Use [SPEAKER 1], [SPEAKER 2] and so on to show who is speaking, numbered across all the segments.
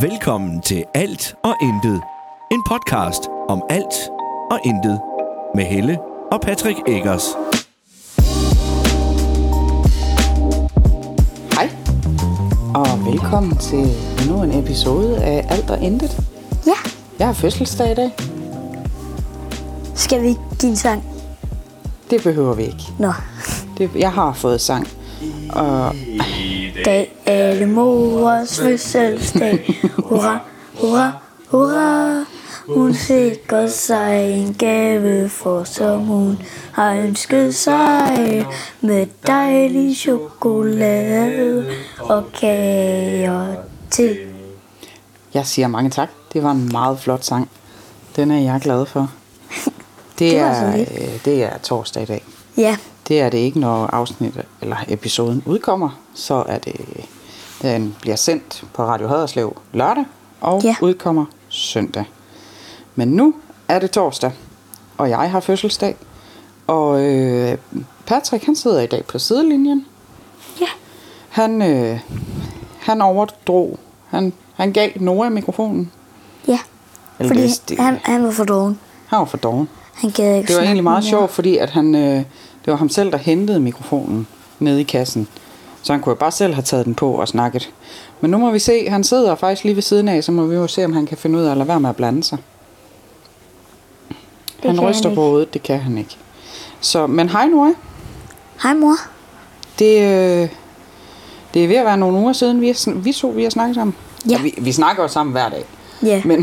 [SPEAKER 1] Velkommen til Alt og Intet. En podcast om alt og intet. Med Helle og Patrick Eggers.
[SPEAKER 2] Hej, og velkommen til endnu en episode af Alt og Intet.
[SPEAKER 3] Ja,
[SPEAKER 2] Jeg har fødselsdag i dag.
[SPEAKER 3] skal vi ikke give en sang?
[SPEAKER 2] Det behøver vi ikke.
[SPEAKER 3] Nå.
[SPEAKER 2] Det, jeg har fået sang. Og
[SPEAKER 3] Dag alle mors fødselsdag. Hurra, hurra, hurra. Hun sikrer sig en gave for, som hun har ønsket sig. Med dejlig chokolade og kager til.
[SPEAKER 2] jeg siger mange tak. Det var en meget flot sang. Den er jeg glad for. Det,
[SPEAKER 3] Det var så
[SPEAKER 2] er,
[SPEAKER 3] lidt.
[SPEAKER 2] øh, det er torsdag i dag.
[SPEAKER 3] Ja,
[SPEAKER 2] Det er det ikke, når afsnittet eller episoden udkommer. Så er det, den bliver sendt på Radio Haderslev lørdag og
[SPEAKER 3] Ja.
[SPEAKER 2] udkommer søndag. Men nu er det torsdag, og jeg har fødselsdag. Og øh, Patrick han sidder i dag på sidelinjen.
[SPEAKER 3] ja,
[SPEAKER 2] Han, øh, han overdrog. Han, han gav Nora mikrofonen.
[SPEAKER 3] ja.
[SPEAKER 2] Eller
[SPEAKER 3] Fordi
[SPEAKER 2] hvis det-
[SPEAKER 3] han, han var for doven.
[SPEAKER 2] Han var for doven.
[SPEAKER 3] Han gad
[SPEAKER 2] Det
[SPEAKER 3] ikke
[SPEAKER 2] var
[SPEAKER 3] snakke
[SPEAKER 2] egentlig meget
[SPEAKER 3] mere.
[SPEAKER 2] sjovt, fordi at han, øh, det var ham selv, der hentede mikrofonen nede i kassen. Så han kunne jo bare selv have taget den på og snakket. Men nu må vi se, han sidder faktisk lige ved siden af, så må vi jo se, om han kan finde ud af at lade være med at blande sig.
[SPEAKER 3] Det
[SPEAKER 2] Han
[SPEAKER 3] kan
[SPEAKER 2] ryster
[SPEAKER 3] ikke.
[SPEAKER 2] på hovedet, det kan han ikke. Så, men hej Nora,
[SPEAKER 3] Hej mor.
[SPEAKER 2] det, øh, det er ved at være nogle uger siden, vi, har, sn- vi to vi har snakket sammen.
[SPEAKER 3] Ja.
[SPEAKER 2] vi, vi snakker jo sammen hver dag.
[SPEAKER 3] Ja,
[SPEAKER 2] Men,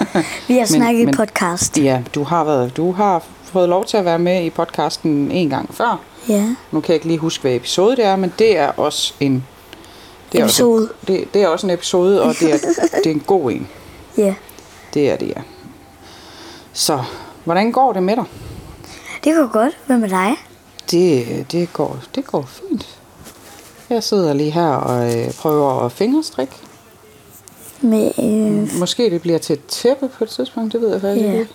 [SPEAKER 3] vi har
[SPEAKER 2] men-
[SPEAKER 3] snakket
[SPEAKER 2] men-
[SPEAKER 3] podcast.
[SPEAKER 2] ja, du har, været, du har fået lov til at være med i podcasten en gang før.
[SPEAKER 3] Ja.
[SPEAKER 2] Nu kan jeg ikke lige huske, hvad episode det er, men det er også en... Det er
[SPEAKER 3] Episode.
[SPEAKER 2] Også, det, det er også en episode, og det er, det er en god en.
[SPEAKER 3] Ja,
[SPEAKER 2] Det er det, ja. Så, hvordan går det med dig?
[SPEAKER 3] det går godt. Hvad med dig?
[SPEAKER 2] Det, det, går, det går fint. Jeg sidder lige her og øh, prøver at fingerstrikke.
[SPEAKER 3] Med, øh,
[SPEAKER 2] Måske det bliver til et tæppe på et tidspunkt, det ved jeg faktisk
[SPEAKER 3] Ja.
[SPEAKER 2] yeah. ikke.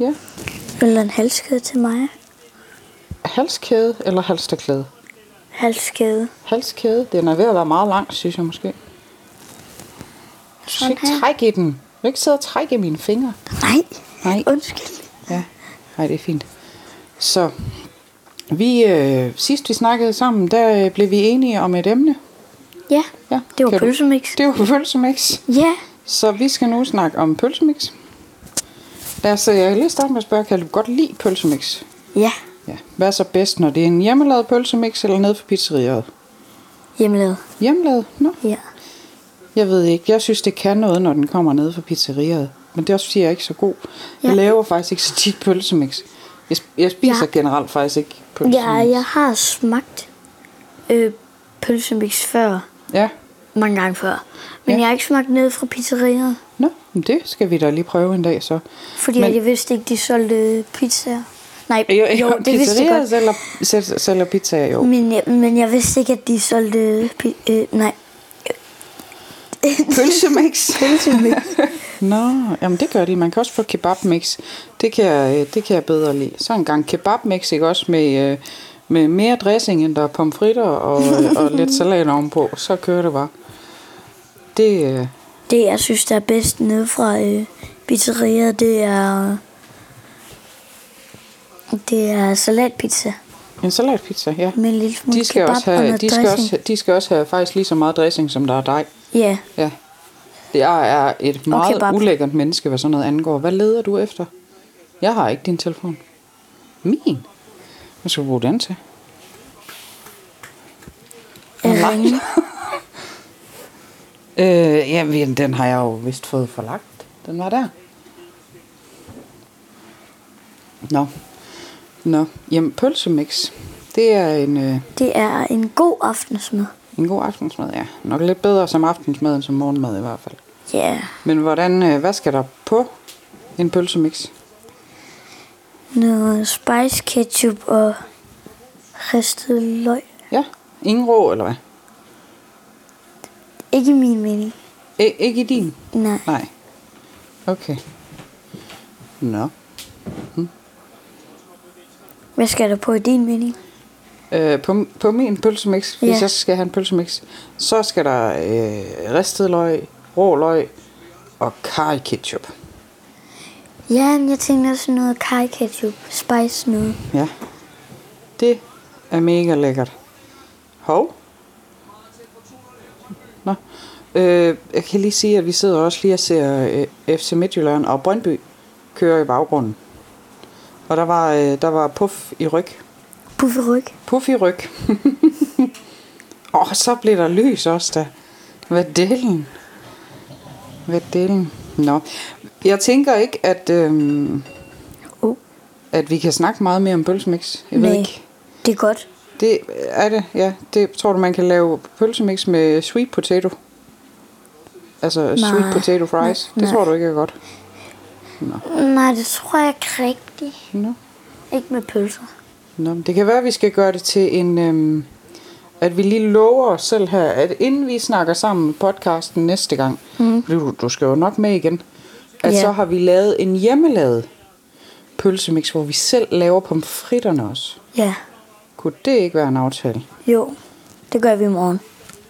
[SPEAKER 2] Ja.
[SPEAKER 3] vil du en halskæde til mig?
[SPEAKER 2] Halskæde eller halsterklæde?
[SPEAKER 3] Halskæde.
[SPEAKER 2] Halskæde, den er ved at være meget lang, synes jeg måske. Du skal
[SPEAKER 3] Sådan
[SPEAKER 2] ikke
[SPEAKER 3] her.
[SPEAKER 2] trække i den. Du kan ikke sidde og trække i mine fingre.
[SPEAKER 3] Nej,
[SPEAKER 2] Nej.
[SPEAKER 3] undskyld.
[SPEAKER 2] Ja, nej, det er fint. Så vi, øh, sidst vi snakkede sammen, der øh, blev vi enige om et emne.
[SPEAKER 3] Ja,
[SPEAKER 2] Ja,
[SPEAKER 3] det var
[SPEAKER 2] kan du-
[SPEAKER 3] pølsemix.
[SPEAKER 2] Det var pølsemix.
[SPEAKER 3] Ja,
[SPEAKER 2] Så vi skal nu snakke om pølsemix. Lad os øh, lige starte med at spørge, kan du godt lide pølsemix?
[SPEAKER 3] ja.
[SPEAKER 2] Ja. Hvad er så bedst, når det er en hjemmelavet pølsemix eller nede fra pizzeriet?
[SPEAKER 3] Hjemmelavet.
[SPEAKER 2] Hjemmelavet? Nå,
[SPEAKER 3] Ja.
[SPEAKER 2] jeg ved ikke. Jeg synes, det kan noget, når den kommer nede fra pizzeriet. Men det er også, fordi jeg er ikke så god. Jeg
[SPEAKER 3] Ja.
[SPEAKER 2] laver faktisk ikke så tit pølsemix. Jeg, sp- jeg spiser
[SPEAKER 3] Ja.
[SPEAKER 2] generelt faktisk ikke pølsemix.
[SPEAKER 3] ja, jeg har smagt øh, pølsemix før.
[SPEAKER 2] Ja.
[SPEAKER 3] Mange gange før.
[SPEAKER 2] Ja.
[SPEAKER 3] Men ja. jeg har ikke smagt ned fra pizzeriet.
[SPEAKER 2] Nå, men det skal vi da lige prøve en dag så.
[SPEAKER 3] Fordi
[SPEAKER 2] Men-
[SPEAKER 3] Men... jeg vidste ikke, de solgte pizzaer. Nej,
[SPEAKER 2] Jo,
[SPEAKER 3] jo, det vidste
[SPEAKER 2] pizzerier
[SPEAKER 3] jeg godt.
[SPEAKER 2] sælger, sælger, sælger pizzaer jo.
[SPEAKER 3] Men jeg, men jeg vidste ikke, at de solgte... pi- Øh, nej,
[SPEAKER 2] Pølsemix. Pølsemix. Nå, jamen det gør de. Man kan også få kebabmix. Det kan jeg, øh, det kan jeg bedre lide. Så en gang kebabmix, ikke også med, øh, med mere dressing, end der er pomfritter og, øh, og lidt salat ovenpå. Så kører det bare. Det, øh,
[SPEAKER 3] Det, jeg synes, der er bedst nede fra øh, pizzeriet, det er... Det er salatpizza
[SPEAKER 2] en salatpizza, ja.
[SPEAKER 3] med en lille smule
[SPEAKER 2] De skal,
[SPEAKER 3] kebab
[SPEAKER 2] også
[SPEAKER 3] og
[SPEAKER 2] have,
[SPEAKER 3] noget
[SPEAKER 2] de, skal
[SPEAKER 3] dressing.
[SPEAKER 2] også, de skal også have faktisk lige så meget dressing, som der er dej.
[SPEAKER 3] Ja,
[SPEAKER 2] Ja. Jeg er et meget okay,
[SPEAKER 3] Bob.
[SPEAKER 2] ulækkert menneske, hvad sådan noget angår. Hvad leder du efter? Jeg har ikke din telefon. Min? Hvad skal du bruge den til?
[SPEAKER 3] jeg ringer.
[SPEAKER 2] Øh, jamen, den har jeg jo vist fået forlagt. Den var der. Nå. Nå. Jamen, pølsemix. Det er en, øh,
[SPEAKER 3] Det er en god aftensmad.
[SPEAKER 2] en god aftensmad, ja. Nok lidt bedre som aftensmad end som morgenmad i hvert fald.
[SPEAKER 3] Ja,
[SPEAKER 2] Men hvordan, øh, hvad skal der på en pølsemix?
[SPEAKER 3] noget spice ketchup og ristet løg.
[SPEAKER 2] Ja, ingen rå, eller hvad?
[SPEAKER 3] Ikke min mening.
[SPEAKER 2] I, ikke i din?
[SPEAKER 3] Nej.
[SPEAKER 2] Nej. Okay. Nå.
[SPEAKER 3] Hvad skal der på i din mening?
[SPEAKER 2] Øh, på, på min pølsemix, hvis
[SPEAKER 3] Ja.
[SPEAKER 2] jeg skal have en pølsemix, så skal der øh, ristet løg, rå løg og curry ketchup.
[SPEAKER 3] Ja, men jeg tænkte også noget kaj ketchup, spice noget.
[SPEAKER 2] Ja. Det er mega lækkert. Hov. Nå. Øh, jeg kan lige sige, at vi sidder også lige og ser øh, FC Midtjylland og Brøndby kører i baggrunden. Og der var, øh, der var puff i ryg.
[SPEAKER 3] Bufferyg.
[SPEAKER 2] Puff i ryg. og så blev der lys også da. Hvad delen? Hvad delen? Nå. Jeg tænker ikke, at, øh,
[SPEAKER 3] Oh,
[SPEAKER 2] at vi kan snakke meget mere om bølsemix. Jeg ved
[SPEAKER 3] Nej.
[SPEAKER 2] ikke.
[SPEAKER 3] det er godt.
[SPEAKER 2] Det er det, ja. Det tror du, man kan lave pølsemix med sweet potato? Altså nej, sweet potato fries?
[SPEAKER 3] nej,
[SPEAKER 2] det
[SPEAKER 3] nej.
[SPEAKER 2] tror du ikke er godt?
[SPEAKER 3] Nej, det tror jeg ikke rigtigt.
[SPEAKER 2] Nå.
[SPEAKER 3] Ikke med pølser.
[SPEAKER 2] Nå, men det kan være, at vi skal gøre det til en... Øhm, at vi lige lover os selv her, at inden vi snakker sammen i podcasten næste gang, mm. du, du skal jo nok med igen, at
[SPEAKER 3] Ja.
[SPEAKER 2] så har vi lavet en hjemmelavet pølsemix, hvor vi selv laver pomfritterne også.
[SPEAKER 3] Ja,
[SPEAKER 2] Kunne det ikke være en aftale?
[SPEAKER 3] jo. Det gør vi i morgen.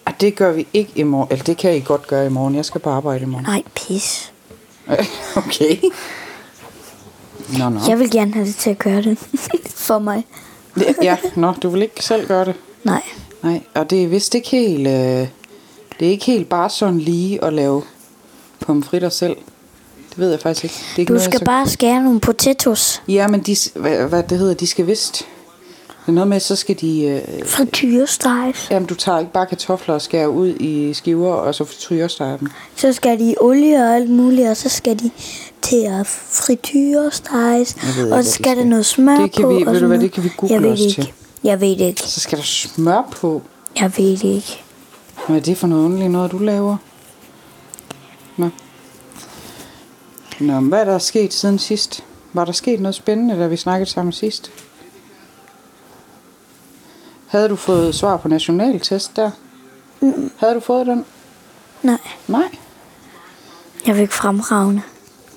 [SPEAKER 2] Ah, det gør vi ikke i morgen. Eller det kan I godt gøre i morgen. Jeg skal på arbejde i morgen.
[SPEAKER 3] Nej, pis.
[SPEAKER 2] Okay. Nå, nå.
[SPEAKER 3] Jeg vil gerne have det til at gøre det. For mig.
[SPEAKER 2] Ja, nå, du vil ikke selv gøre det.
[SPEAKER 3] Nej.
[SPEAKER 2] Nej, og det er vist ikke helt... Øh, det er ikke helt bare sådan lige at lave pomfritter selv. Det ved jeg faktisk ikke. Det er ikke
[SPEAKER 3] Du
[SPEAKER 2] noget, jeg
[SPEAKER 3] skal bare skære nogle potatoes.
[SPEAKER 2] Ja, men de, s- hvad, hvad det hedder, de skal vist... Det er noget med, så skal de... Øh,
[SPEAKER 3] Frityrestejs.
[SPEAKER 2] jamen, du tager ikke bare kartofler og skærer ud i skiver, og så fritersteger dem.
[SPEAKER 3] Så skal de i olie og alt muligt, og så skal de til at frityrestejs.
[SPEAKER 2] Jeg ved ikke, hvad de
[SPEAKER 3] Og så skal der
[SPEAKER 2] skal.
[SPEAKER 3] noget smør
[SPEAKER 2] Det kan
[SPEAKER 3] på.
[SPEAKER 2] vi-
[SPEAKER 3] og
[SPEAKER 2] ved du
[SPEAKER 3] sådan
[SPEAKER 2] hvad,
[SPEAKER 3] noget.
[SPEAKER 2] det kan vi google
[SPEAKER 3] jeg ved
[SPEAKER 2] os
[SPEAKER 3] ikke.
[SPEAKER 2] til.
[SPEAKER 3] Jeg ved det ikke.
[SPEAKER 2] Så skal der smør på.
[SPEAKER 3] Jeg ved det ikke.
[SPEAKER 2] Hvad er det for noget underligt noget, du laver? Nå. Nå, men hvad er der sket siden sidst? Var der sket noget spændende, da vi snakkede sammen sidst? Havde du fået svar på nationaltest der? Mm. Havde du fået den?
[SPEAKER 3] Nej,
[SPEAKER 2] Nej.
[SPEAKER 3] jeg fik fremragende.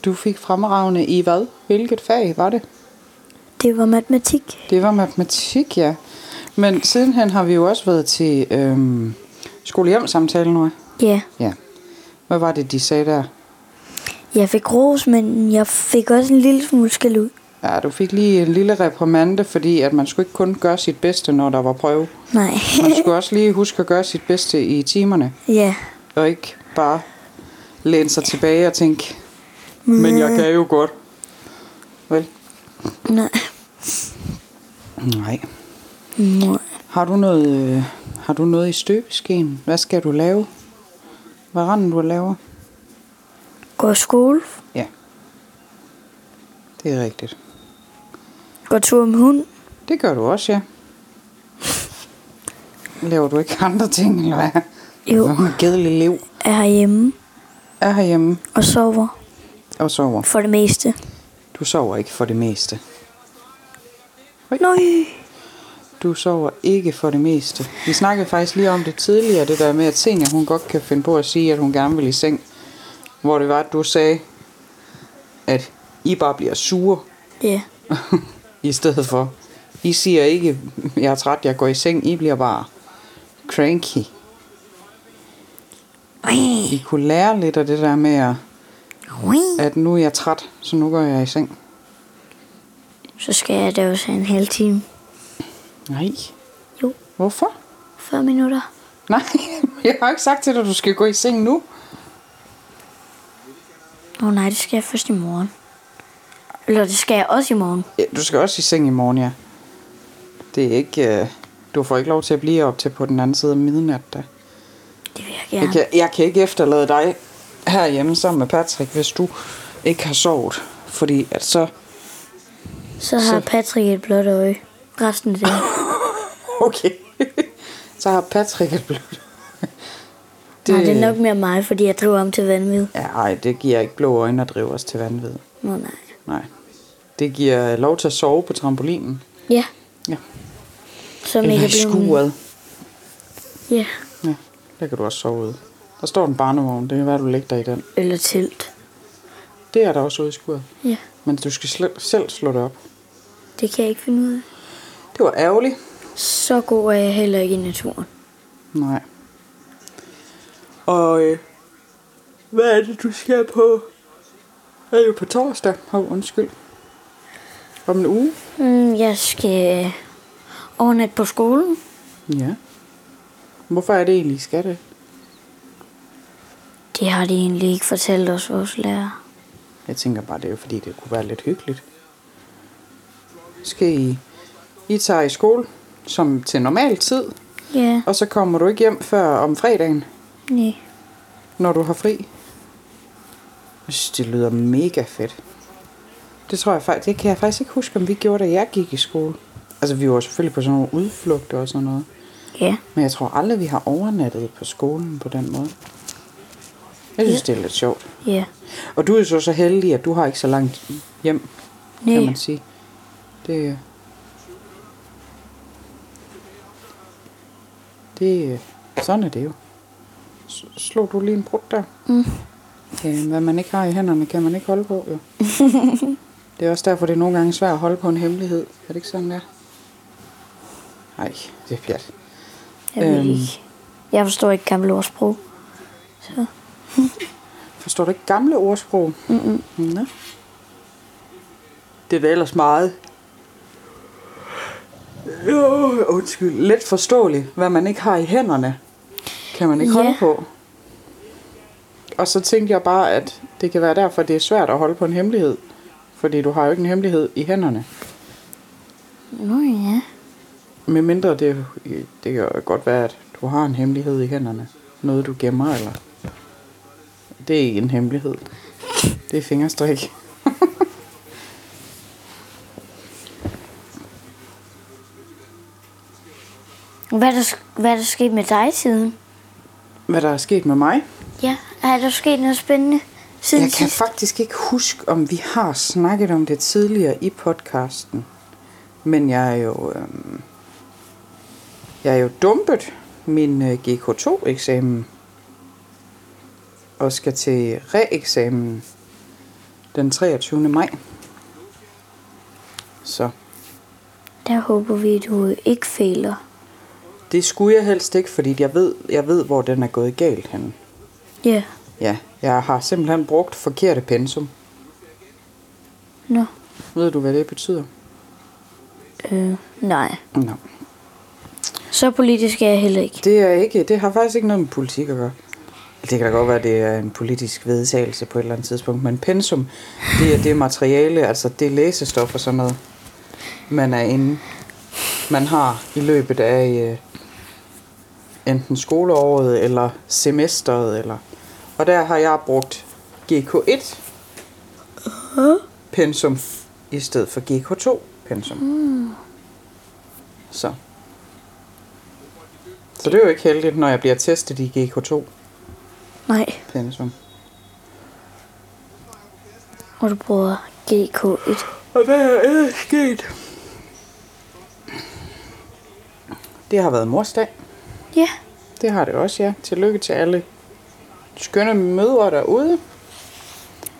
[SPEAKER 2] Du fik fremragende i hvad? Hvilket fag var det?
[SPEAKER 3] Det var matematik.
[SPEAKER 2] Det var matematik, ja. Men sidenhen har vi jo også været til øhm, skolehjemsamtale nu.
[SPEAKER 3] Ja,
[SPEAKER 2] Ja. Hvad var det, de sagde der?
[SPEAKER 3] jeg fik ros, men jeg fik også en lille smule skæld ud.
[SPEAKER 2] Ja, du fik lige en lille reprimande, fordi at man skulle ikke kun gøre sit bedste, når der var prøve.
[SPEAKER 3] Nej,
[SPEAKER 2] Man skulle også lige huske at gøre sit bedste i timerne,
[SPEAKER 3] ja.
[SPEAKER 2] og ikke bare læne sig tilbage og tænke, men jeg kan jo godt. Vel?
[SPEAKER 3] Nej,
[SPEAKER 2] Nej.
[SPEAKER 3] nej.
[SPEAKER 2] Har du noget, øh, har du noget i støbeskeen? Hvad skal du lave? Hvad randen du laver?
[SPEAKER 3] Går i skole,
[SPEAKER 2] Ja. Det er rigtigt.
[SPEAKER 3] går tur med hund.
[SPEAKER 2] Det gør du også, ja. Laver du ikke andre ting, eller hvad?
[SPEAKER 3] Jo.
[SPEAKER 2] Du er en kedelig liv.
[SPEAKER 3] er herhjemme
[SPEAKER 2] er herhjemme
[SPEAKER 3] og sover
[SPEAKER 2] og sover.
[SPEAKER 3] for det meste.
[SPEAKER 2] Du sover ikke for det meste.
[SPEAKER 3] Nøj.
[SPEAKER 2] Du sover ikke for det meste. Vi snakkede faktisk lige om det tidligere, det der med, at senior, hun godt kan finde på at sige, at hun gerne vil i seng. Hvor det var, at du sagde, at I bare bliver sure
[SPEAKER 3] Ja,
[SPEAKER 2] i stedet for. I siger ikke, jeg er træt, jeg går i seng. I bliver bare cranky. I kunne lære lidt af det der med, at- at nu er jeg træt, så nu går jeg i seng.
[SPEAKER 3] så skal jeg da også have en halv time.
[SPEAKER 2] Nej.
[SPEAKER 3] Jo,
[SPEAKER 2] Hvorfor?
[SPEAKER 3] 40 minutter.
[SPEAKER 2] Nej, jeg har ikke sagt til dig, at du skal gå i seng nu.
[SPEAKER 3] Åh oh, nej, det skal jeg først i morgen. Eller det skal jeg også i morgen.
[SPEAKER 2] Ja, du skal også i seng i morgen, ja. Det er ikke... Øh, du får ikke lov til at blive op til på den anden side af midnat, da.
[SPEAKER 3] Det vil jeg
[SPEAKER 2] Jeg
[SPEAKER 3] gerne.
[SPEAKER 2] kan, jeg kan ikke efterlade dig herhjemme sammen med Patrick, hvis du ikke har sovet. Fordi at så...
[SPEAKER 3] Så har Patrick et blåt øje. Resten af det.
[SPEAKER 2] Okay. så har Patrick et blødt.
[SPEAKER 3] det... Nej, det er nok mere mig, fordi jeg driver om til vanvid.
[SPEAKER 2] Ja, ej, det giver ikke blå øjne at drive os til vanvid.
[SPEAKER 3] Nå nej.
[SPEAKER 2] Nej. Det giver øh, lov til at sove på trampolinen.
[SPEAKER 3] Ja,
[SPEAKER 2] Ja.
[SPEAKER 3] som
[SPEAKER 2] Eller
[SPEAKER 3] ikke
[SPEAKER 2] i
[SPEAKER 3] er blevet...
[SPEAKER 2] skuret.
[SPEAKER 3] Ja,
[SPEAKER 2] Ja, der kan du også sove ude. Der står en barnevogn, det kan være, du ligger dig i den.
[SPEAKER 3] eller telt.
[SPEAKER 2] Det er der også ude i skuret.
[SPEAKER 3] Ja,
[SPEAKER 2] Men du skal sl- selv slå det op.
[SPEAKER 3] det kan jeg ikke finde ud af.
[SPEAKER 2] Det var ærgerligt.
[SPEAKER 3] Så god er jeg heller ikke i naturen.
[SPEAKER 2] Nej. Og øh, Hvad er det, du skal på? Er jo på torsdag? Hov, oh, undskyld. Om en uge?
[SPEAKER 3] Mm, jeg skal overnatte på skolen.
[SPEAKER 2] Ja. Hvorfor er det egentlig, I skal det?
[SPEAKER 3] Det har de egentlig ikke fortalt os, vores lærer.
[SPEAKER 2] Jeg tænker bare, det er jo fordi, det kunne være lidt hyggeligt. Skal I... I tager i skole, som til normal tid,
[SPEAKER 3] Ja,
[SPEAKER 2] og så kommer du ikke hjem før om fredagen,
[SPEAKER 3] nej.
[SPEAKER 2] når du har fri. Jeg synes, det lyder mega fedt. Det tror jeg faktisk, det kan jeg faktisk ikke huske, om vi gjorde, da jeg gik i skole. Altså, vi var selvfølgelig på sådan nogle udflugter og sådan noget.
[SPEAKER 3] Ja,
[SPEAKER 2] Men jeg tror aldrig, vi har overnattet på skolen på den måde. Jeg synes, det er lidt sjovt.
[SPEAKER 3] ja.
[SPEAKER 2] Og du er jo så, så heldig, at du har ikke så langt hjem, kan
[SPEAKER 3] Nej,
[SPEAKER 2] man sige. Det, øh, det, øh, sådan er det jo. S- Slog du lige en brud der? Mm. Ja, hvad man ikke har i hænderne, kan man ikke holde på, jo. det er også derfor, det er nogle gange svært at holde på en hemmelighed. Er det ikke sådan, der? Nej, det er pjat.
[SPEAKER 3] jeg ved
[SPEAKER 2] Øhm.
[SPEAKER 3] ikke. Jeg forstår ikke gammel ordsprog.
[SPEAKER 2] Forstår du ikke gamle ordsprog? Mm-mm. Nå. Det er da ellers meget... Jo, undskyld. Let forståeligt, hvad man ikke har i hænderne, kan man ikke
[SPEAKER 3] Ja.
[SPEAKER 2] holde på. Og så tænkte jeg bare, at det kan være derfor, det er svært at holde på en hemmelighed. Fordi du har jo ikke en hemmelighed i hænderne.
[SPEAKER 3] Nå ja.
[SPEAKER 2] Med mindre det, det kan jo godt være, at du har en hemmelighed i hænderne. Noget, du gemmer, eller... Det er ikke en hemmelighed. Det er fingerstrik.
[SPEAKER 3] Hvad er der, sk- hvad er der sket med dig siden?
[SPEAKER 2] Hvad der er sket med mig?
[SPEAKER 3] Ja, er der sket noget spændende siden
[SPEAKER 2] Jeg kan
[SPEAKER 3] sidst?
[SPEAKER 2] faktisk ikke huske, om vi har snakket om det tidligere i podcasten. Men jeg er jo... Øhm, jeg er jo dumpet min øh, GK2-eksamen. Og skal til reeksamen den 23. maj. Så
[SPEAKER 3] Der håber vi, at du ikke fejler.
[SPEAKER 2] det skulle jeg helst ikke, fordi jeg ved, jeg ved hvor den er gået galt henne.
[SPEAKER 3] Ja,
[SPEAKER 2] Ja, jeg har simpelthen brugt forkerte pensum.
[SPEAKER 3] nå.
[SPEAKER 2] Ved du, hvad det betyder?
[SPEAKER 3] Øh, nej.
[SPEAKER 2] Nå.
[SPEAKER 3] Så politisk er jeg heller ikke.
[SPEAKER 2] Det er ikke. Det har faktisk ikke noget med politik at gøre. Altså, Det kan da godt være, at det er en politisk vedtagelse på et eller andet tidspunkt, men pensum, det er det materiale, altså det læsestof og sådan noget, man er inde. Man har i løbet af øh, enten skoleåret eller semesteret. Eller, og der har jeg brugt GK1 pensum i stedet for GK2 pensum. Så. Så det er jo ikke heldigt, når jeg bliver testet i GK2
[SPEAKER 3] Nej,
[SPEAKER 2] pensum.
[SPEAKER 3] og du bruger GK1.
[SPEAKER 2] Og hvad er ellers sket? Det har været morsdag.
[SPEAKER 3] Ja,
[SPEAKER 2] Det har det også, ja. Tillykke til alle skønne mødre derude.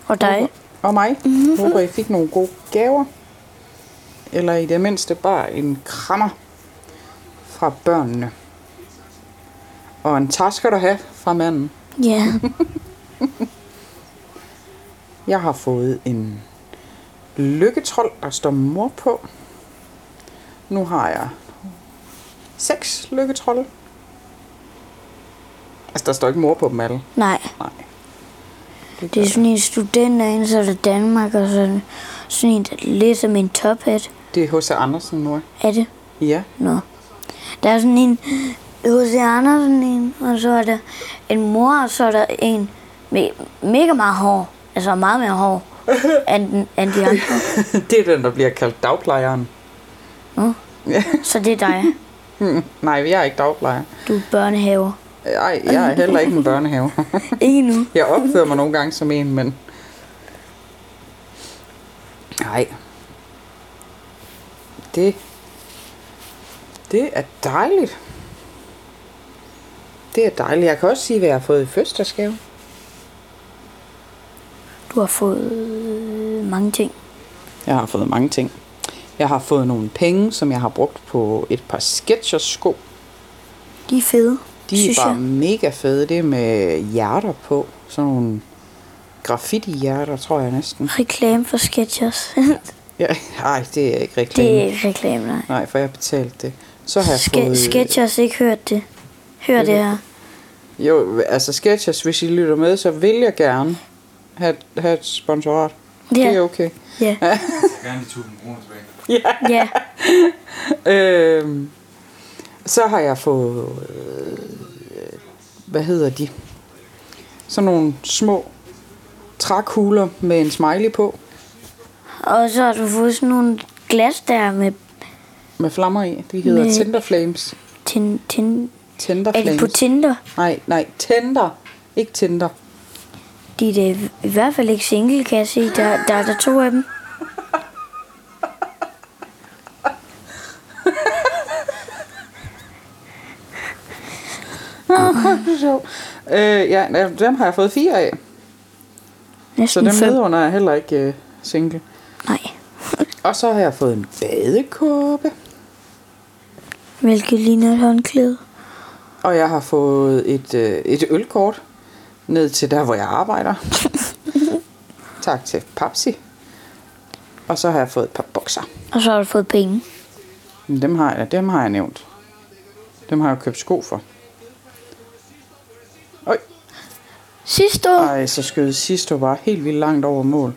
[SPEAKER 3] og dig.
[SPEAKER 2] Og mig. Mm-hmm. Håber, I fik nogle gode gaver. Eller i det mindste bare en krammer fra børnene. Og en tak skal du have fra manden.
[SPEAKER 3] Ja,
[SPEAKER 2] Jeg har fået en lykketrol, der står mor på. Nu har jeg seks lykketrolle. Altså, der står ikke mor på dem alle.
[SPEAKER 3] nej.
[SPEAKER 2] Nej.
[SPEAKER 3] Det er sådan en student, der indsat af Danmark, og sådan, sådan en, der lidt som en tophat.
[SPEAKER 2] Det er H.C. Andersen, mor.
[SPEAKER 3] Er det?
[SPEAKER 2] Ja.
[SPEAKER 3] Nå. Der er sådan en H.C. Andersen en, og så er der en mor, og så er der en med mega meget hår. Altså meget mere hår end, den- end de andre.
[SPEAKER 2] Det er den, der bliver kaldt dagplejeren.
[SPEAKER 3] Nå.
[SPEAKER 2] Ja.
[SPEAKER 3] Så det er dig.
[SPEAKER 2] Hmm. Nej, jeg er ikke dagplejer.
[SPEAKER 3] Du er børnehaver.
[SPEAKER 2] Ej, jeg er heller ikke en børnehave.
[SPEAKER 3] Ikke nu.
[SPEAKER 2] Jeg opfører mig nogle gange som en, men... Nej. Det... Det er dejligt. Det er dejligt. Jeg kan også sige, hvad jeg har fået i fødselsdagsgave.
[SPEAKER 3] Du har fået øh, mange ting.
[SPEAKER 2] Jeg har fået mange ting. Jeg har fået nogle penge, som jeg har brugt på et par Skechers-sko.
[SPEAKER 3] De er fede.
[SPEAKER 2] De er
[SPEAKER 4] Synes
[SPEAKER 2] bare
[SPEAKER 4] jeg.
[SPEAKER 2] mega fede. Det er med hjerter på. Sådan nogle graffiti-hjerter, tror jeg næsten.
[SPEAKER 4] Reklame for Skechers.
[SPEAKER 2] Ja, ej, det er ikke
[SPEAKER 3] Det
[SPEAKER 2] reklame.
[SPEAKER 3] er ikke reklame, nej.
[SPEAKER 2] Nej, for jeg har betalt det. Så har jeg
[SPEAKER 3] Ske-
[SPEAKER 2] fået...
[SPEAKER 3] Sketchers ikke hørt det. Hør det her.
[SPEAKER 2] Jo, altså Sketchers, hvis I lytter med, så vil jeg gerne have, have et sponsorat. Det
[SPEAKER 3] Ja.
[SPEAKER 2] er okay.
[SPEAKER 3] Ja.
[SPEAKER 5] gerne de 1000 kroner tilbage.
[SPEAKER 3] ja.
[SPEAKER 2] Øhm, så har jeg fået... Øh, hvad hedder de? Sådan nogle små trækugler med en smiley på,
[SPEAKER 3] Og så har du fået sådan nogle glas der med
[SPEAKER 2] med flammer i. De hedder
[SPEAKER 3] Næ.
[SPEAKER 2] Tinder Flames.
[SPEAKER 3] tin, tin,
[SPEAKER 2] Tinder
[SPEAKER 3] Er de på
[SPEAKER 2] Flames.
[SPEAKER 3] Tinder?
[SPEAKER 2] nej, nej, Tinder. Ikke Tinder.
[SPEAKER 3] De er da i- i hvert fald ikke single, kan jeg se. Der, der er der to af dem.
[SPEAKER 2] Øh, ja, nej, dem har jeg fået fire af, så
[SPEAKER 3] Næsten
[SPEAKER 2] dem
[SPEAKER 3] fem.
[SPEAKER 2] nedenunder er heller ikke øh, single.
[SPEAKER 3] Nej.
[SPEAKER 2] Og så har jeg fået en badekåbe.
[SPEAKER 4] Hvilket ligner et håndklæde.
[SPEAKER 2] Og jeg har fået et, øh, et ølkort ned til der, hvor jeg arbejder. tak til Papsi. Og så har jeg fået et par bukser.
[SPEAKER 3] Og så har du fået penge.
[SPEAKER 2] Men Dem har jeg, dem har jeg nævnt. Dem har jeg jo købt sko for. Øj,
[SPEAKER 3] Sidste år.
[SPEAKER 2] ej, så skød Sisto bare helt vildt langt over mål.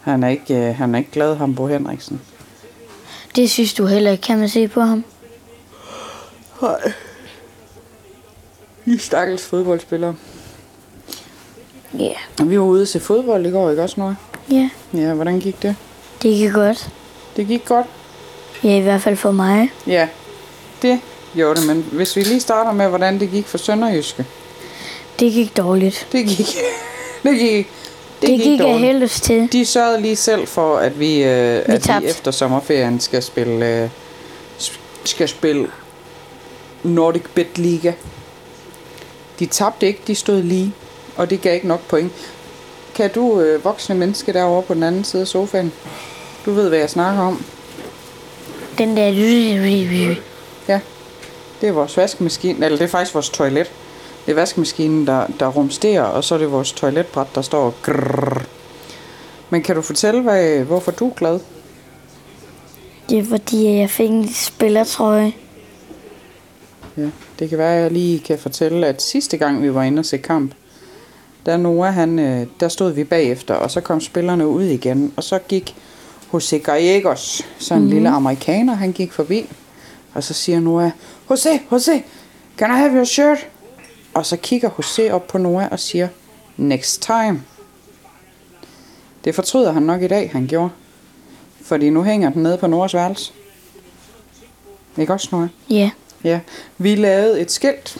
[SPEAKER 2] Han er ikke, øh, han er ikke glad, ham Bo Henriksen.
[SPEAKER 3] Det synes du heller ikke, kan man se på ham.
[SPEAKER 2] I stakkels fodboldspillere.
[SPEAKER 3] Ja. Yeah.
[SPEAKER 2] Vi var ude til fodbold i går, ikke også, Nora?
[SPEAKER 3] Ja, yeah.
[SPEAKER 2] Ja, hvordan gik det?
[SPEAKER 3] det gik godt.
[SPEAKER 2] Det gik godt.
[SPEAKER 3] Ja, i hvert fald for mig.
[SPEAKER 2] Ja, det gjorde det. Men hvis vi lige starter med, hvordan det gik for Sønderjyske.
[SPEAKER 3] Det gik dårligt.
[SPEAKER 2] Det gik. det gik.
[SPEAKER 3] Det, det gik jeg
[SPEAKER 2] dårligt.
[SPEAKER 3] heldigst til.
[SPEAKER 2] De sørgede lige selv for, at vi, øh, at vi
[SPEAKER 3] tabte.
[SPEAKER 2] efter sommerferien skal spille, øh, s- skal spille Nordic Bet Liga. De tabte ikke, de stod lige, og det gav ikke nok point. Kan du, øh, voksne menneske derovre på den anden side af sofaen, du ved, hvad jeg snakker om.
[SPEAKER 3] Den der...
[SPEAKER 2] Ja, det er vores vaskemaskine, eller det er faktisk vores toilet. Det er vaskemaskinen, der, der rumsterer, og så er det vores toiletbræt, der står og grrrr. Men kan du fortælle, hvad, hvorfor du er glad?
[SPEAKER 3] Det er fordi, jeg fik en spillertrøje.
[SPEAKER 2] Ja, det kan være, at jeg lige kan fortælle, at sidste gang vi var inde og se kamp, der, Noah, han, øh, der stod vi bagefter, og så kom spillerne ud igen, og så gik Jose Gallegos, sådan en lille amerikaner, han gik forbi, og så siger Noah, Jose, Jose, can I have your shirt? Og så kigger Jose op på Noah og siger, next time. Det fortryder han nok i dag, han gjorde. Fordi nu hænger den nede på Noahs værelse. Ikke også, Noah?
[SPEAKER 3] Ja.
[SPEAKER 2] Ja, vi lavede et skilt.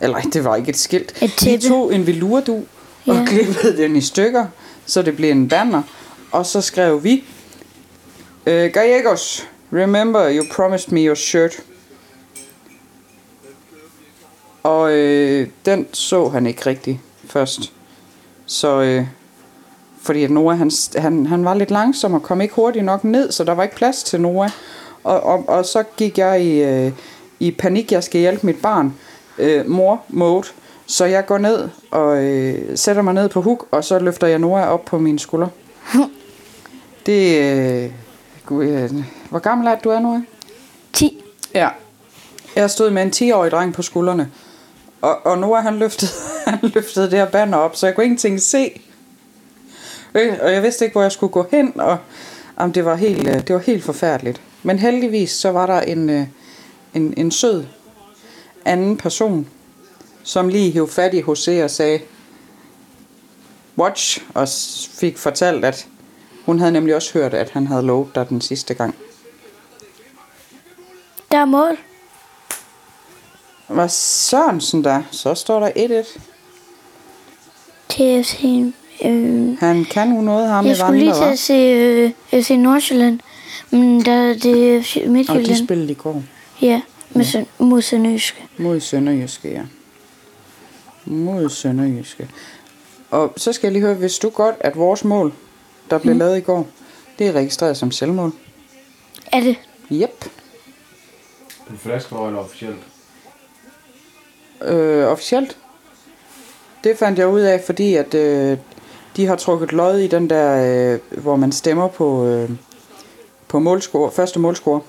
[SPEAKER 2] Eller det var ikke et skilt.
[SPEAKER 3] Et tæppe.
[SPEAKER 2] Vi tog en velurdu og
[SPEAKER 3] Ja.
[SPEAKER 2] klippede den i stykker, så det blev en banner. Og så skrev vi, øh, Gallegos, remember you promised me your shirt. Og øh, den så han ikke rigtig først. Så, øh, fordi at Noah, han, han, han var lidt langsom og kom ikke hurtigt nok ned, så der var ikke plads til Noah. Og, og, og så gik jeg i, øh, i panik, jeg skal hjælpe mit barn, øh, mor mode. Så jeg går ned og øh, sætter mig ned på huk, og så løfter jeg Noah op på mine skuldre. Det øh, gud, øh, Hvor gammel er det, du er, Noah?
[SPEAKER 3] 10.
[SPEAKER 2] Ja. Jeg stod med en 10-årig dreng på skuldrene. Og, og Noah, han løftede, han løftede det her banner op, så jeg kunne ingenting se. Øh, Og jeg vidste ikke, hvor jeg skulle gå hen, og jamen, det, var helt, øh, det var helt forfærdeligt. Men heldigvis, så var der en, øh, en, en sød anden person, som lige hævde fat i Jose og sagde, watch, og s- fik fortalt, at hun havde nemlig også hørt, at han havde lovet dig den sidste gang.
[SPEAKER 3] Der er mål.
[SPEAKER 2] Var Sørensen der? Så står der 1-1.
[SPEAKER 3] TFC... Øh,
[SPEAKER 2] Han kan jo noget, ham
[SPEAKER 3] jeg
[SPEAKER 2] med
[SPEAKER 3] skulle lige til at
[SPEAKER 2] vandre,
[SPEAKER 3] se øh, FC Nordsjælland, men der er det FC
[SPEAKER 2] Og de
[SPEAKER 3] Midtjylland.
[SPEAKER 2] spillede i går
[SPEAKER 3] Ja, med søn, mod Sønderjyske.
[SPEAKER 2] mod Sønderjyske, ja. Mod Sønderjyske. Og så skal jeg lige høre, hvis du godt, at vores mål, der blev mm. lavet i går, det er registreret som selvmål.
[SPEAKER 3] Er det?
[SPEAKER 2] Jep.
[SPEAKER 6] En flaskevare eller officielt?
[SPEAKER 2] Øh, officielt. Det fandt jeg ud af, fordi at øh, de har trukket lod i den der, øh, hvor man stemmer på, øh, på målscore, første målscore.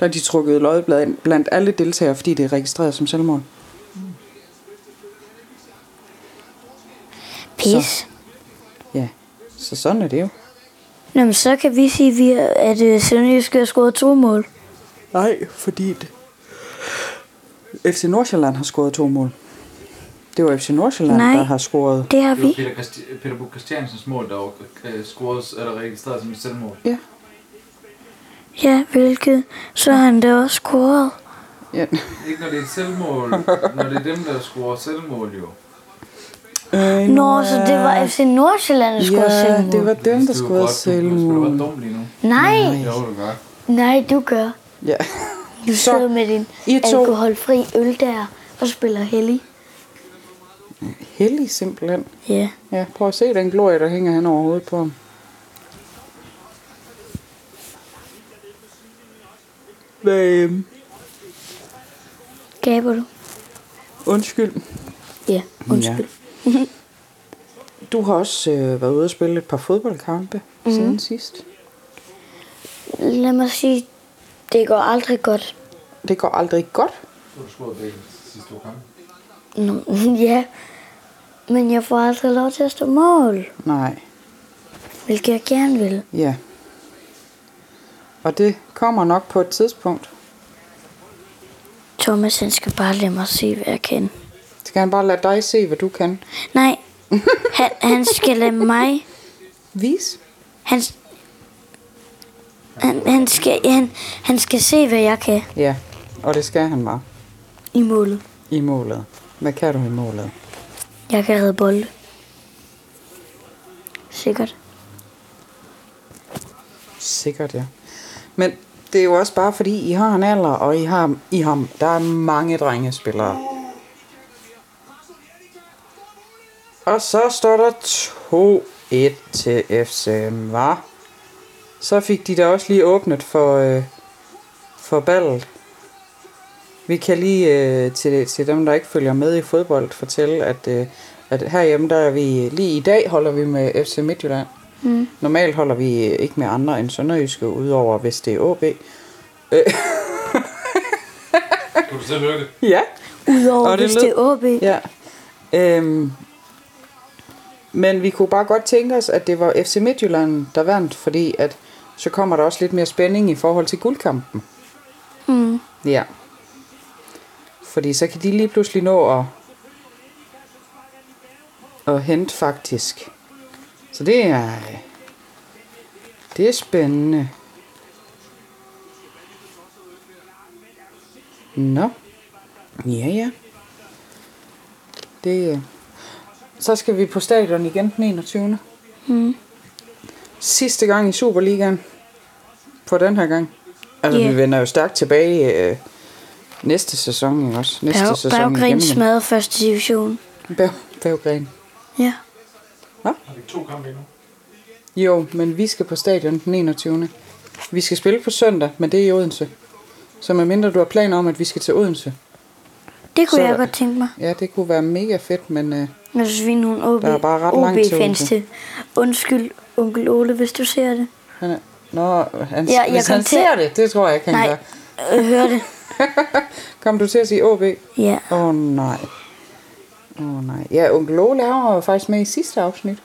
[SPEAKER 2] Der har de trukket lod blandt, blandt alle deltagere, fordi det er registreret som selvmord.
[SPEAKER 3] Pis.
[SPEAKER 2] Ja, så sådan er det jo.
[SPEAKER 3] Nå, men så kan vi sige, at vi- at øh, Sønderjysk har scoret to mål.
[SPEAKER 2] Nej, fordi det... FC Nordsjælland har scoret to mål. Det var FC Nordsjælland,
[SPEAKER 3] Nej.
[SPEAKER 2] der har scoret.
[SPEAKER 3] Det har
[SPEAKER 5] Det var
[SPEAKER 3] vi.
[SPEAKER 5] Peter, Christi- Peter Bug Christiansens mål, der var øh, scoret eller registreret som et selvmål.
[SPEAKER 2] Ja,
[SPEAKER 3] Ja, hvilket så har han da også scoret.
[SPEAKER 2] ja.
[SPEAKER 5] Ikke når det er et selvmål, når det er dem, der scorer selvmål jo.
[SPEAKER 2] Øh,
[SPEAKER 3] Nå, så det var FC Nordsjælland, der scorede
[SPEAKER 2] Ja,
[SPEAKER 3] selvmål.
[SPEAKER 2] det var dem, der
[SPEAKER 5] Du er
[SPEAKER 2] scorede
[SPEAKER 5] godt- Du skulle
[SPEAKER 2] selvmål.
[SPEAKER 5] være dum lige nu.
[SPEAKER 3] Nej,
[SPEAKER 5] Jo, du gør.
[SPEAKER 3] nej, du gør.
[SPEAKER 2] Ja. Så,
[SPEAKER 3] Du sidder med din
[SPEAKER 2] I to-
[SPEAKER 3] alkoholfri øl der og spiller hellig.
[SPEAKER 2] Heldig simpelthen.
[SPEAKER 3] Ja.
[SPEAKER 2] Ja, prøv at se den glorie, der hænger hen over hovedet på ham. Hvad, øhm,
[SPEAKER 3] Gaber du?
[SPEAKER 2] undskyld.
[SPEAKER 3] Ja, undskyld.
[SPEAKER 2] Du har også øh, været ude og spille et par fodboldkampe mm. siden sidst.
[SPEAKER 3] Ja. Lad mig sige, det går aldrig godt.
[SPEAKER 2] Det går aldrig godt.
[SPEAKER 5] Du har scoret begge sidste to kampe.
[SPEAKER 3] Nå, ja. Men jeg får aldrig lov til at stå mål,
[SPEAKER 2] Nej,
[SPEAKER 3] hvilket jeg gerne vil.
[SPEAKER 2] ja. Og det kommer nok på et tidspunkt.
[SPEAKER 3] Thomas han skal bare lade mig se, hvad jeg kan.
[SPEAKER 2] Skal han bare lade dig se, hvad du kan?
[SPEAKER 3] Nej, han, han skal lade mig.
[SPEAKER 2] Vis.
[SPEAKER 3] Han, han, han, skal, han, han skal se, hvad jeg kan
[SPEAKER 2] Ja, og det skal han bare.
[SPEAKER 3] i målet.
[SPEAKER 2] I målet. Hvad kan du i målet?
[SPEAKER 3] Jeg kan redde bolde. Sikkert.
[SPEAKER 2] Sikkert, ja. Men det er jo også bare fordi, I har en alder, og I har, I har, der er mange drengespillere. Og så står der 2-1 til FCM, var. Så fik de da også lige åbnet for, øh, for ballet. Vi kan lige øh, til, til dem, der ikke følger med i fodbold, fortælle, at, øh, at herhjemme, der er vi lige i dag, holder vi med FC Midtjylland. Mm. Normalt holder vi øh, ikke med andre end Sønderjyske, udover hvis det er AB.
[SPEAKER 5] Skulle du selv lykke?
[SPEAKER 2] Ja.
[SPEAKER 3] Udover
[SPEAKER 2] Og det
[SPEAKER 3] hvis det er OB.
[SPEAKER 2] ja. Øhm, men vi kunne bare godt tænke os, at det var FC Midtjylland, der vandt, fordi at så kommer der også lidt mere spænding i forhold til guldkampen.
[SPEAKER 3] Mm.
[SPEAKER 2] Ja. Fordi så kan de lige pludselig nå at, at hente faktisk. Så det er, det er spændende. Nå. Ja, ja. Det, øh, så skal vi på stadion igen den 21. Mm. Sidste gang i Superligaen. På den her gang. Altså,
[SPEAKER 3] Ja.
[SPEAKER 2] vi vender jo stærkt tilbage øh, næste sæson, ikke også? Næste
[SPEAKER 3] Berg,
[SPEAKER 2] sæson
[SPEAKER 3] Berggren
[SPEAKER 2] igen. men-
[SPEAKER 3] smadrede første division.
[SPEAKER 2] Berg- Berggren.
[SPEAKER 3] Ja.
[SPEAKER 5] Har vi to kampe endnu?
[SPEAKER 2] Jo, men vi skal på stadion den 21. Vi skal spille på søndag, men det er i Odense. Så medmindre du har planer om, at vi skal til Odense.
[SPEAKER 3] Det kunne
[SPEAKER 2] Så-
[SPEAKER 3] jeg godt tænke mig.
[SPEAKER 2] Ja, det kunne være mega fedt, men øh,
[SPEAKER 3] Jeg synes, vi er nogle OB,
[SPEAKER 2] Der er bare ret langt til
[SPEAKER 3] OB-fans
[SPEAKER 2] OB.
[SPEAKER 3] til. Undskyld, onkel Ole, hvis du ser det.
[SPEAKER 2] han er... Nå, han,
[SPEAKER 3] Ja,
[SPEAKER 2] ja,
[SPEAKER 3] jeg
[SPEAKER 2] hvis
[SPEAKER 3] kom
[SPEAKER 2] han
[SPEAKER 3] til-
[SPEAKER 2] ser det, det tror jeg ikke, han
[SPEAKER 3] Nej,
[SPEAKER 2] gør.
[SPEAKER 3] øh, hør det.
[SPEAKER 2] Kom du til at sige OB? Åh
[SPEAKER 3] Ja.
[SPEAKER 2] oh, nej. Åh oh, nej. Ja, onkel Ole han var jo faktisk med i sidste afsnit.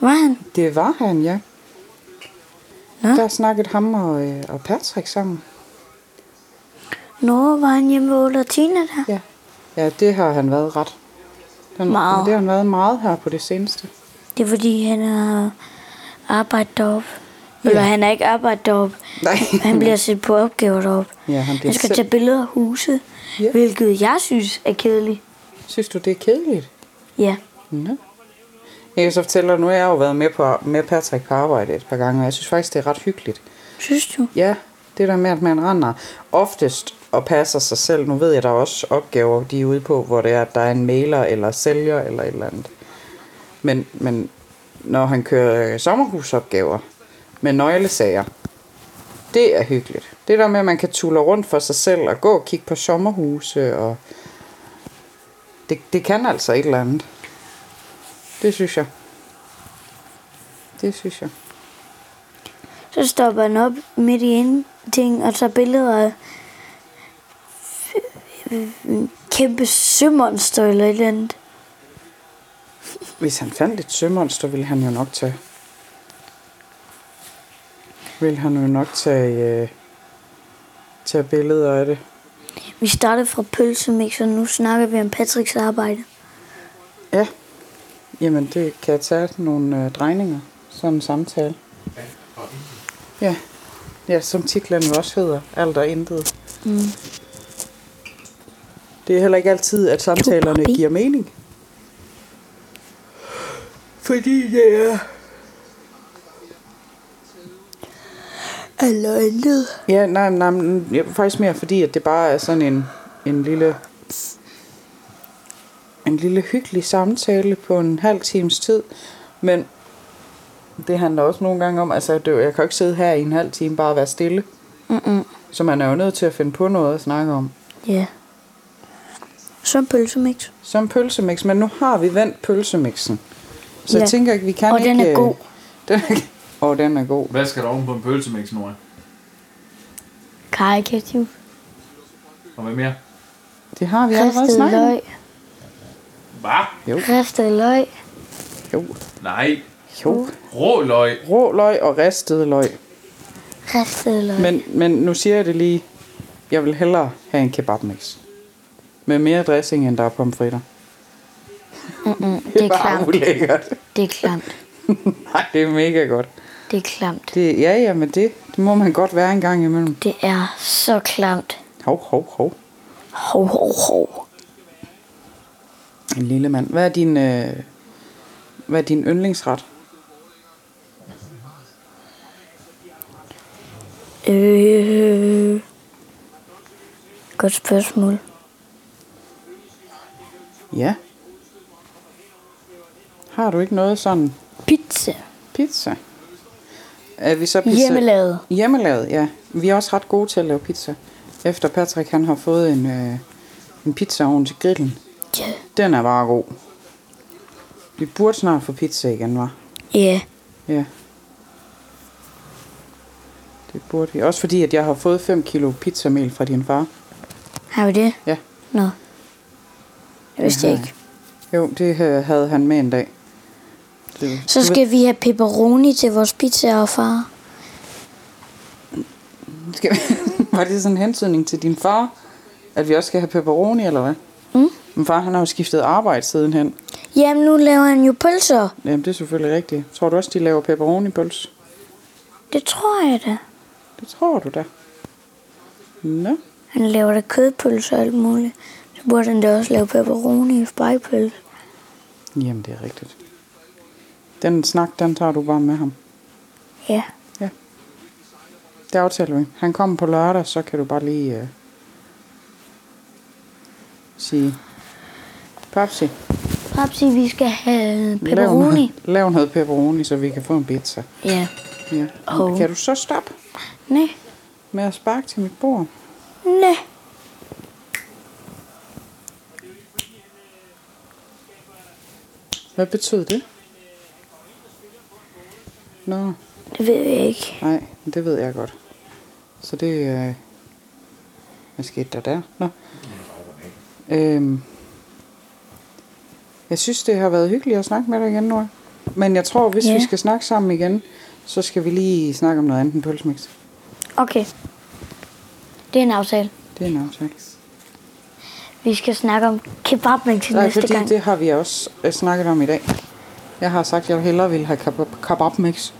[SPEAKER 3] Var han?
[SPEAKER 2] Det var han, ja.
[SPEAKER 3] Nå.
[SPEAKER 2] Der snakkede ham og, øh, og Patrick sammen.
[SPEAKER 3] Nå, var han hjemme ved Ole og Tina der?
[SPEAKER 2] Ja. ja, det har han været ret. Den,
[SPEAKER 3] Meget.
[SPEAKER 2] Det har han været meget her på det seneste.
[SPEAKER 3] Det er fordi, han har arbejdet deroppe. Eller han har ikke arbejdet deroppe.
[SPEAKER 2] Nej.
[SPEAKER 3] Han bliver sat på opgaver deroppe.
[SPEAKER 2] Ja, han bliver
[SPEAKER 3] han skal
[SPEAKER 2] selv-
[SPEAKER 3] tage billeder af huse,
[SPEAKER 2] Ja.
[SPEAKER 3] hvilket jeg synes er kedeligt.
[SPEAKER 2] Synes du, det er kedeligt?
[SPEAKER 3] Ja.
[SPEAKER 2] Nå. Jeg kan så fortælle dig, nu har jeg jo været med, på, med Patrick på arbejde et par gange, og jeg synes faktisk, det er ret hyggeligt.
[SPEAKER 3] Synes du?
[SPEAKER 2] Ja, det der med, at man render oftest og passer sig selv. Nu ved jeg, der er også opgaver, de er ude på, hvor det er, at der er en mailer eller sælger eller et eller andet. Men, men når han kører øh, sommerhusopgaver med nøglesager, Det er hyggeligt. Det der med, at man kan tulle rundt for sig selv og gå og kigge på sommerhuse. Og det, det kan altså et eller andet. Det synes jeg. Det synes jeg.
[SPEAKER 3] Så stopper han op midt i en ting og tager billeder af en kæmpe sømonster eller et eller andet.
[SPEAKER 2] Hvis han fandt et sømonster, ville han jo nok tage... Vil han jo nok tage, øh, tage billeder af det.
[SPEAKER 3] Vi startede fra pølsemix, og nu snakker vi om Patricks arbejde.
[SPEAKER 2] Ja. Jamen, det kan tage nogle øh, drejninger. Sådan en samtale. Ja. Ja, som titlen jo også hedder. Alt og intet. Mm. Det er heller ikke altid, at samtalerne
[SPEAKER 4] Barbie.
[SPEAKER 2] giver mening. Fordi det er...
[SPEAKER 4] Eller intet.
[SPEAKER 2] Ja, nej, nej, men ja, faktisk mere fordi, at det bare er sådan en, en lille en lille hyggelig samtale på en halv times tid, men det handler også nogle gange om, altså det, er jo- jeg kan jo ikke sidde her i en halv time bare og være stille,
[SPEAKER 3] Mm-mm.
[SPEAKER 2] så man er jo nødt til at finde på noget at snakke om.
[SPEAKER 3] Ja. Så pølsemix.
[SPEAKER 2] Som pølsemix, men nu har vi vendt pølsemixen, så ja.
[SPEAKER 3] Ja.
[SPEAKER 2] jeg tænker, at vi kan
[SPEAKER 3] Og
[SPEAKER 2] ikke...
[SPEAKER 3] den er god.
[SPEAKER 2] Den er, og den er god.
[SPEAKER 5] Hvad skal der oven på en pølsemix, Nora?
[SPEAKER 3] Karikativ.
[SPEAKER 5] Og hvad mere?
[SPEAKER 2] Det har vi allerede
[SPEAKER 3] Ristet
[SPEAKER 2] snakket om.
[SPEAKER 3] løg.
[SPEAKER 5] Hvad?
[SPEAKER 3] Ristet løg.
[SPEAKER 2] Jo,
[SPEAKER 5] Nej.
[SPEAKER 2] jo.
[SPEAKER 5] Rå løg.
[SPEAKER 2] Rå løg og ristet løg.
[SPEAKER 3] Ristet løg.
[SPEAKER 2] Men, men nu siger jeg det lige. Jeg vil hellere have en kebabmix. Med mere dressing, end der er pomfritter.
[SPEAKER 3] Mm-mm. Det er
[SPEAKER 2] bare
[SPEAKER 3] klamt.
[SPEAKER 2] ulækkert.
[SPEAKER 3] Det er klamt.
[SPEAKER 2] Nej, det er mega godt.
[SPEAKER 3] Det er klamt.
[SPEAKER 2] Det, ja, ja, men det, det må man godt være en gang imellem.
[SPEAKER 3] Det er så klamt.
[SPEAKER 2] Hov, hov, hov.
[SPEAKER 3] Hov, hov, hov.
[SPEAKER 2] En lille mand. Hvad er din, øh, hvad er din yndlingsret?
[SPEAKER 3] Øh. Godt spørgsmål.
[SPEAKER 2] Ja. Har du ikke noget sådan
[SPEAKER 3] Pizza.
[SPEAKER 2] pizza? Er vi så pizza?
[SPEAKER 3] Hjemmelavet.
[SPEAKER 2] Hjemmelavet, ja. Vi er også ret gode til at lave pizza. Efter Patrick han har fået en, øh, en pizzaovn til grillen.
[SPEAKER 3] Ja.
[SPEAKER 2] Den er bare god. Vi burde snart få pizza igen, var.
[SPEAKER 3] Ja.
[SPEAKER 2] Ja. Det burde vi. Også fordi, at jeg har fået 5 kilo pizzamel fra din far.
[SPEAKER 3] Har vi det?
[SPEAKER 2] Ja.
[SPEAKER 3] Nå. Det vidste jeg ikke.
[SPEAKER 2] Jo, det øh, havde han med en dag. Det,
[SPEAKER 3] Så skal vi have pepperoni til vores pizza og far.
[SPEAKER 2] skal... Var det sådan en hentydning til din far? At vi også skal have pepperoni, eller hvad?
[SPEAKER 3] Mm.
[SPEAKER 2] Men far, han har jo skiftet arbejde sidenhen.
[SPEAKER 3] Jamen, nu laver han jo pølser.
[SPEAKER 2] Jamen, det er selvfølgelig rigtigt. Tror du også, de laver pepperoni-pøls?
[SPEAKER 3] Det tror jeg da.
[SPEAKER 2] Det tror du da. Nå.
[SPEAKER 3] Han laver da kødpølser og alt muligt. Så burde han da også lave pepperoni og spejpølse.
[SPEAKER 2] Jamen, det er rigtigt. Den snak, den tager du bare med ham.
[SPEAKER 3] Ja.
[SPEAKER 2] Det aftaler vi. Han kommer på lørdag, så kan du bare lige øh, sige... Papsi,
[SPEAKER 3] Papsi, vi skal have
[SPEAKER 2] lav,
[SPEAKER 3] pepperoni.
[SPEAKER 2] noget- lav noget pepperoni, så vi kan få en pizza.
[SPEAKER 3] Ja.
[SPEAKER 2] Ja.
[SPEAKER 3] Hov.
[SPEAKER 2] Kan du så stoppe
[SPEAKER 3] Nej.
[SPEAKER 2] med at sparke til mit bord?
[SPEAKER 3] Nej.
[SPEAKER 2] Hvad betød det? Nå,
[SPEAKER 3] Det ved jeg ikke.
[SPEAKER 2] nej, men det ved jeg godt. Så det... Øh, hvad skete der der? Nå. Øhm, jeg synes, det har været hyggeligt at snakke med dig igen, Nora. Men jeg tror, hvis
[SPEAKER 3] Ja.
[SPEAKER 2] ja. vi skal snakke sammen igen, så skal vi lige snakke om noget andet end pølsemix.
[SPEAKER 3] Okay. Det er en aftale.
[SPEAKER 2] Det er en aftale.
[SPEAKER 3] Vi skal snakke om kebabmix til
[SPEAKER 2] Nej,
[SPEAKER 3] næste
[SPEAKER 2] fordi
[SPEAKER 3] gang.
[SPEAKER 2] det har vi også øh, snakket om i dag. Jeg har sagt, at jeg hellere ville have kebab- kebabmix.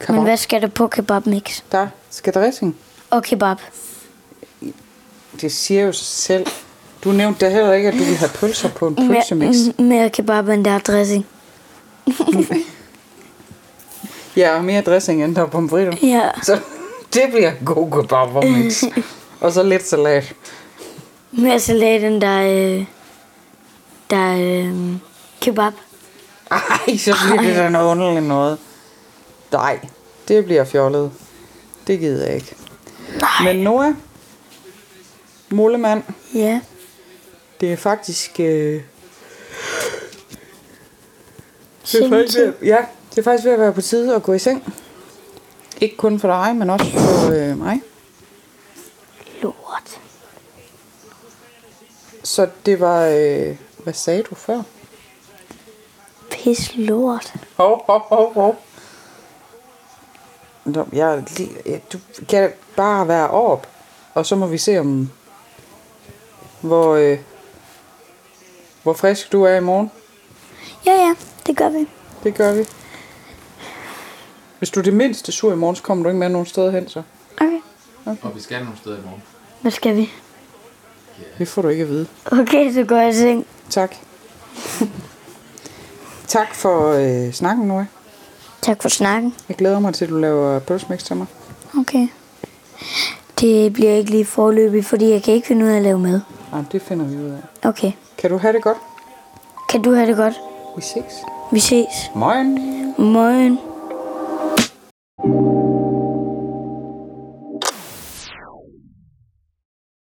[SPEAKER 2] Kebab.
[SPEAKER 3] Men hvad skal der på kebabmix?
[SPEAKER 2] Der skal dressing.
[SPEAKER 3] Og kebab.
[SPEAKER 2] Det siger jo sig selv. Du nævnte da heller ikke, at du ville have pølser på en pølsemix.
[SPEAKER 3] Mere, mere kebab end der er dressing.
[SPEAKER 2] Ja, og mere dressing end der er pomfritter.
[SPEAKER 3] Ja.
[SPEAKER 2] Så det bliver en god kebabmix. og så lidt salat.
[SPEAKER 3] Mere salat end der er, øh, der er øh, kebab.
[SPEAKER 2] Ej, så bliver det da noget underligt noget. Nej, det bliver fjollet. Det gider jeg ikke. Nej. Men Noah, Mullemand,
[SPEAKER 3] Ja.
[SPEAKER 2] det er faktisk... Øh, det er
[SPEAKER 4] Sengetid.
[SPEAKER 2] faktisk ved, ja, det er faktisk ved at være på tide at gå i seng. Ikke kun for dig, men også for øh, mig.
[SPEAKER 3] Lort.
[SPEAKER 2] Så det var... Øh, hvad sagde du før?
[SPEAKER 3] Pis lort.
[SPEAKER 2] Hov, hov, hov, hov. Nå, jeg, er lige- jeg, du kan bare være op, og så må vi se, om hvor, øh, hvor frisk du er i morgen.
[SPEAKER 4] Ja, ja, det gør vi.
[SPEAKER 2] Det gør vi. Hvis du er det mindste sur i morgen, så kommer du ikke med nogen steder hen, så.
[SPEAKER 3] Okay.
[SPEAKER 5] Og vi skal nogle steder i morgen.
[SPEAKER 3] Hvad skal vi?
[SPEAKER 2] Det får du ikke at vide.
[SPEAKER 3] Okay, så går jeg i seng.
[SPEAKER 2] Tak. tak for øh, snakken, Noah.
[SPEAKER 3] Tak for snakken.
[SPEAKER 2] Jeg glæder mig til, at du laver pølsemix til mig.
[SPEAKER 3] Okay. Det bliver ikke lige forløbig, fordi jeg kan ikke finde ud af at lave mad.
[SPEAKER 2] Jamen, det finder vi ud af.
[SPEAKER 3] Okay.
[SPEAKER 2] Kan du have det godt?
[SPEAKER 3] Kan du have det godt?
[SPEAKER 2] Vi ses.
[SPEAKER 3] Vi ses.
[SPEAKER 2] Moin.
[SPEAKER 3] Morgen.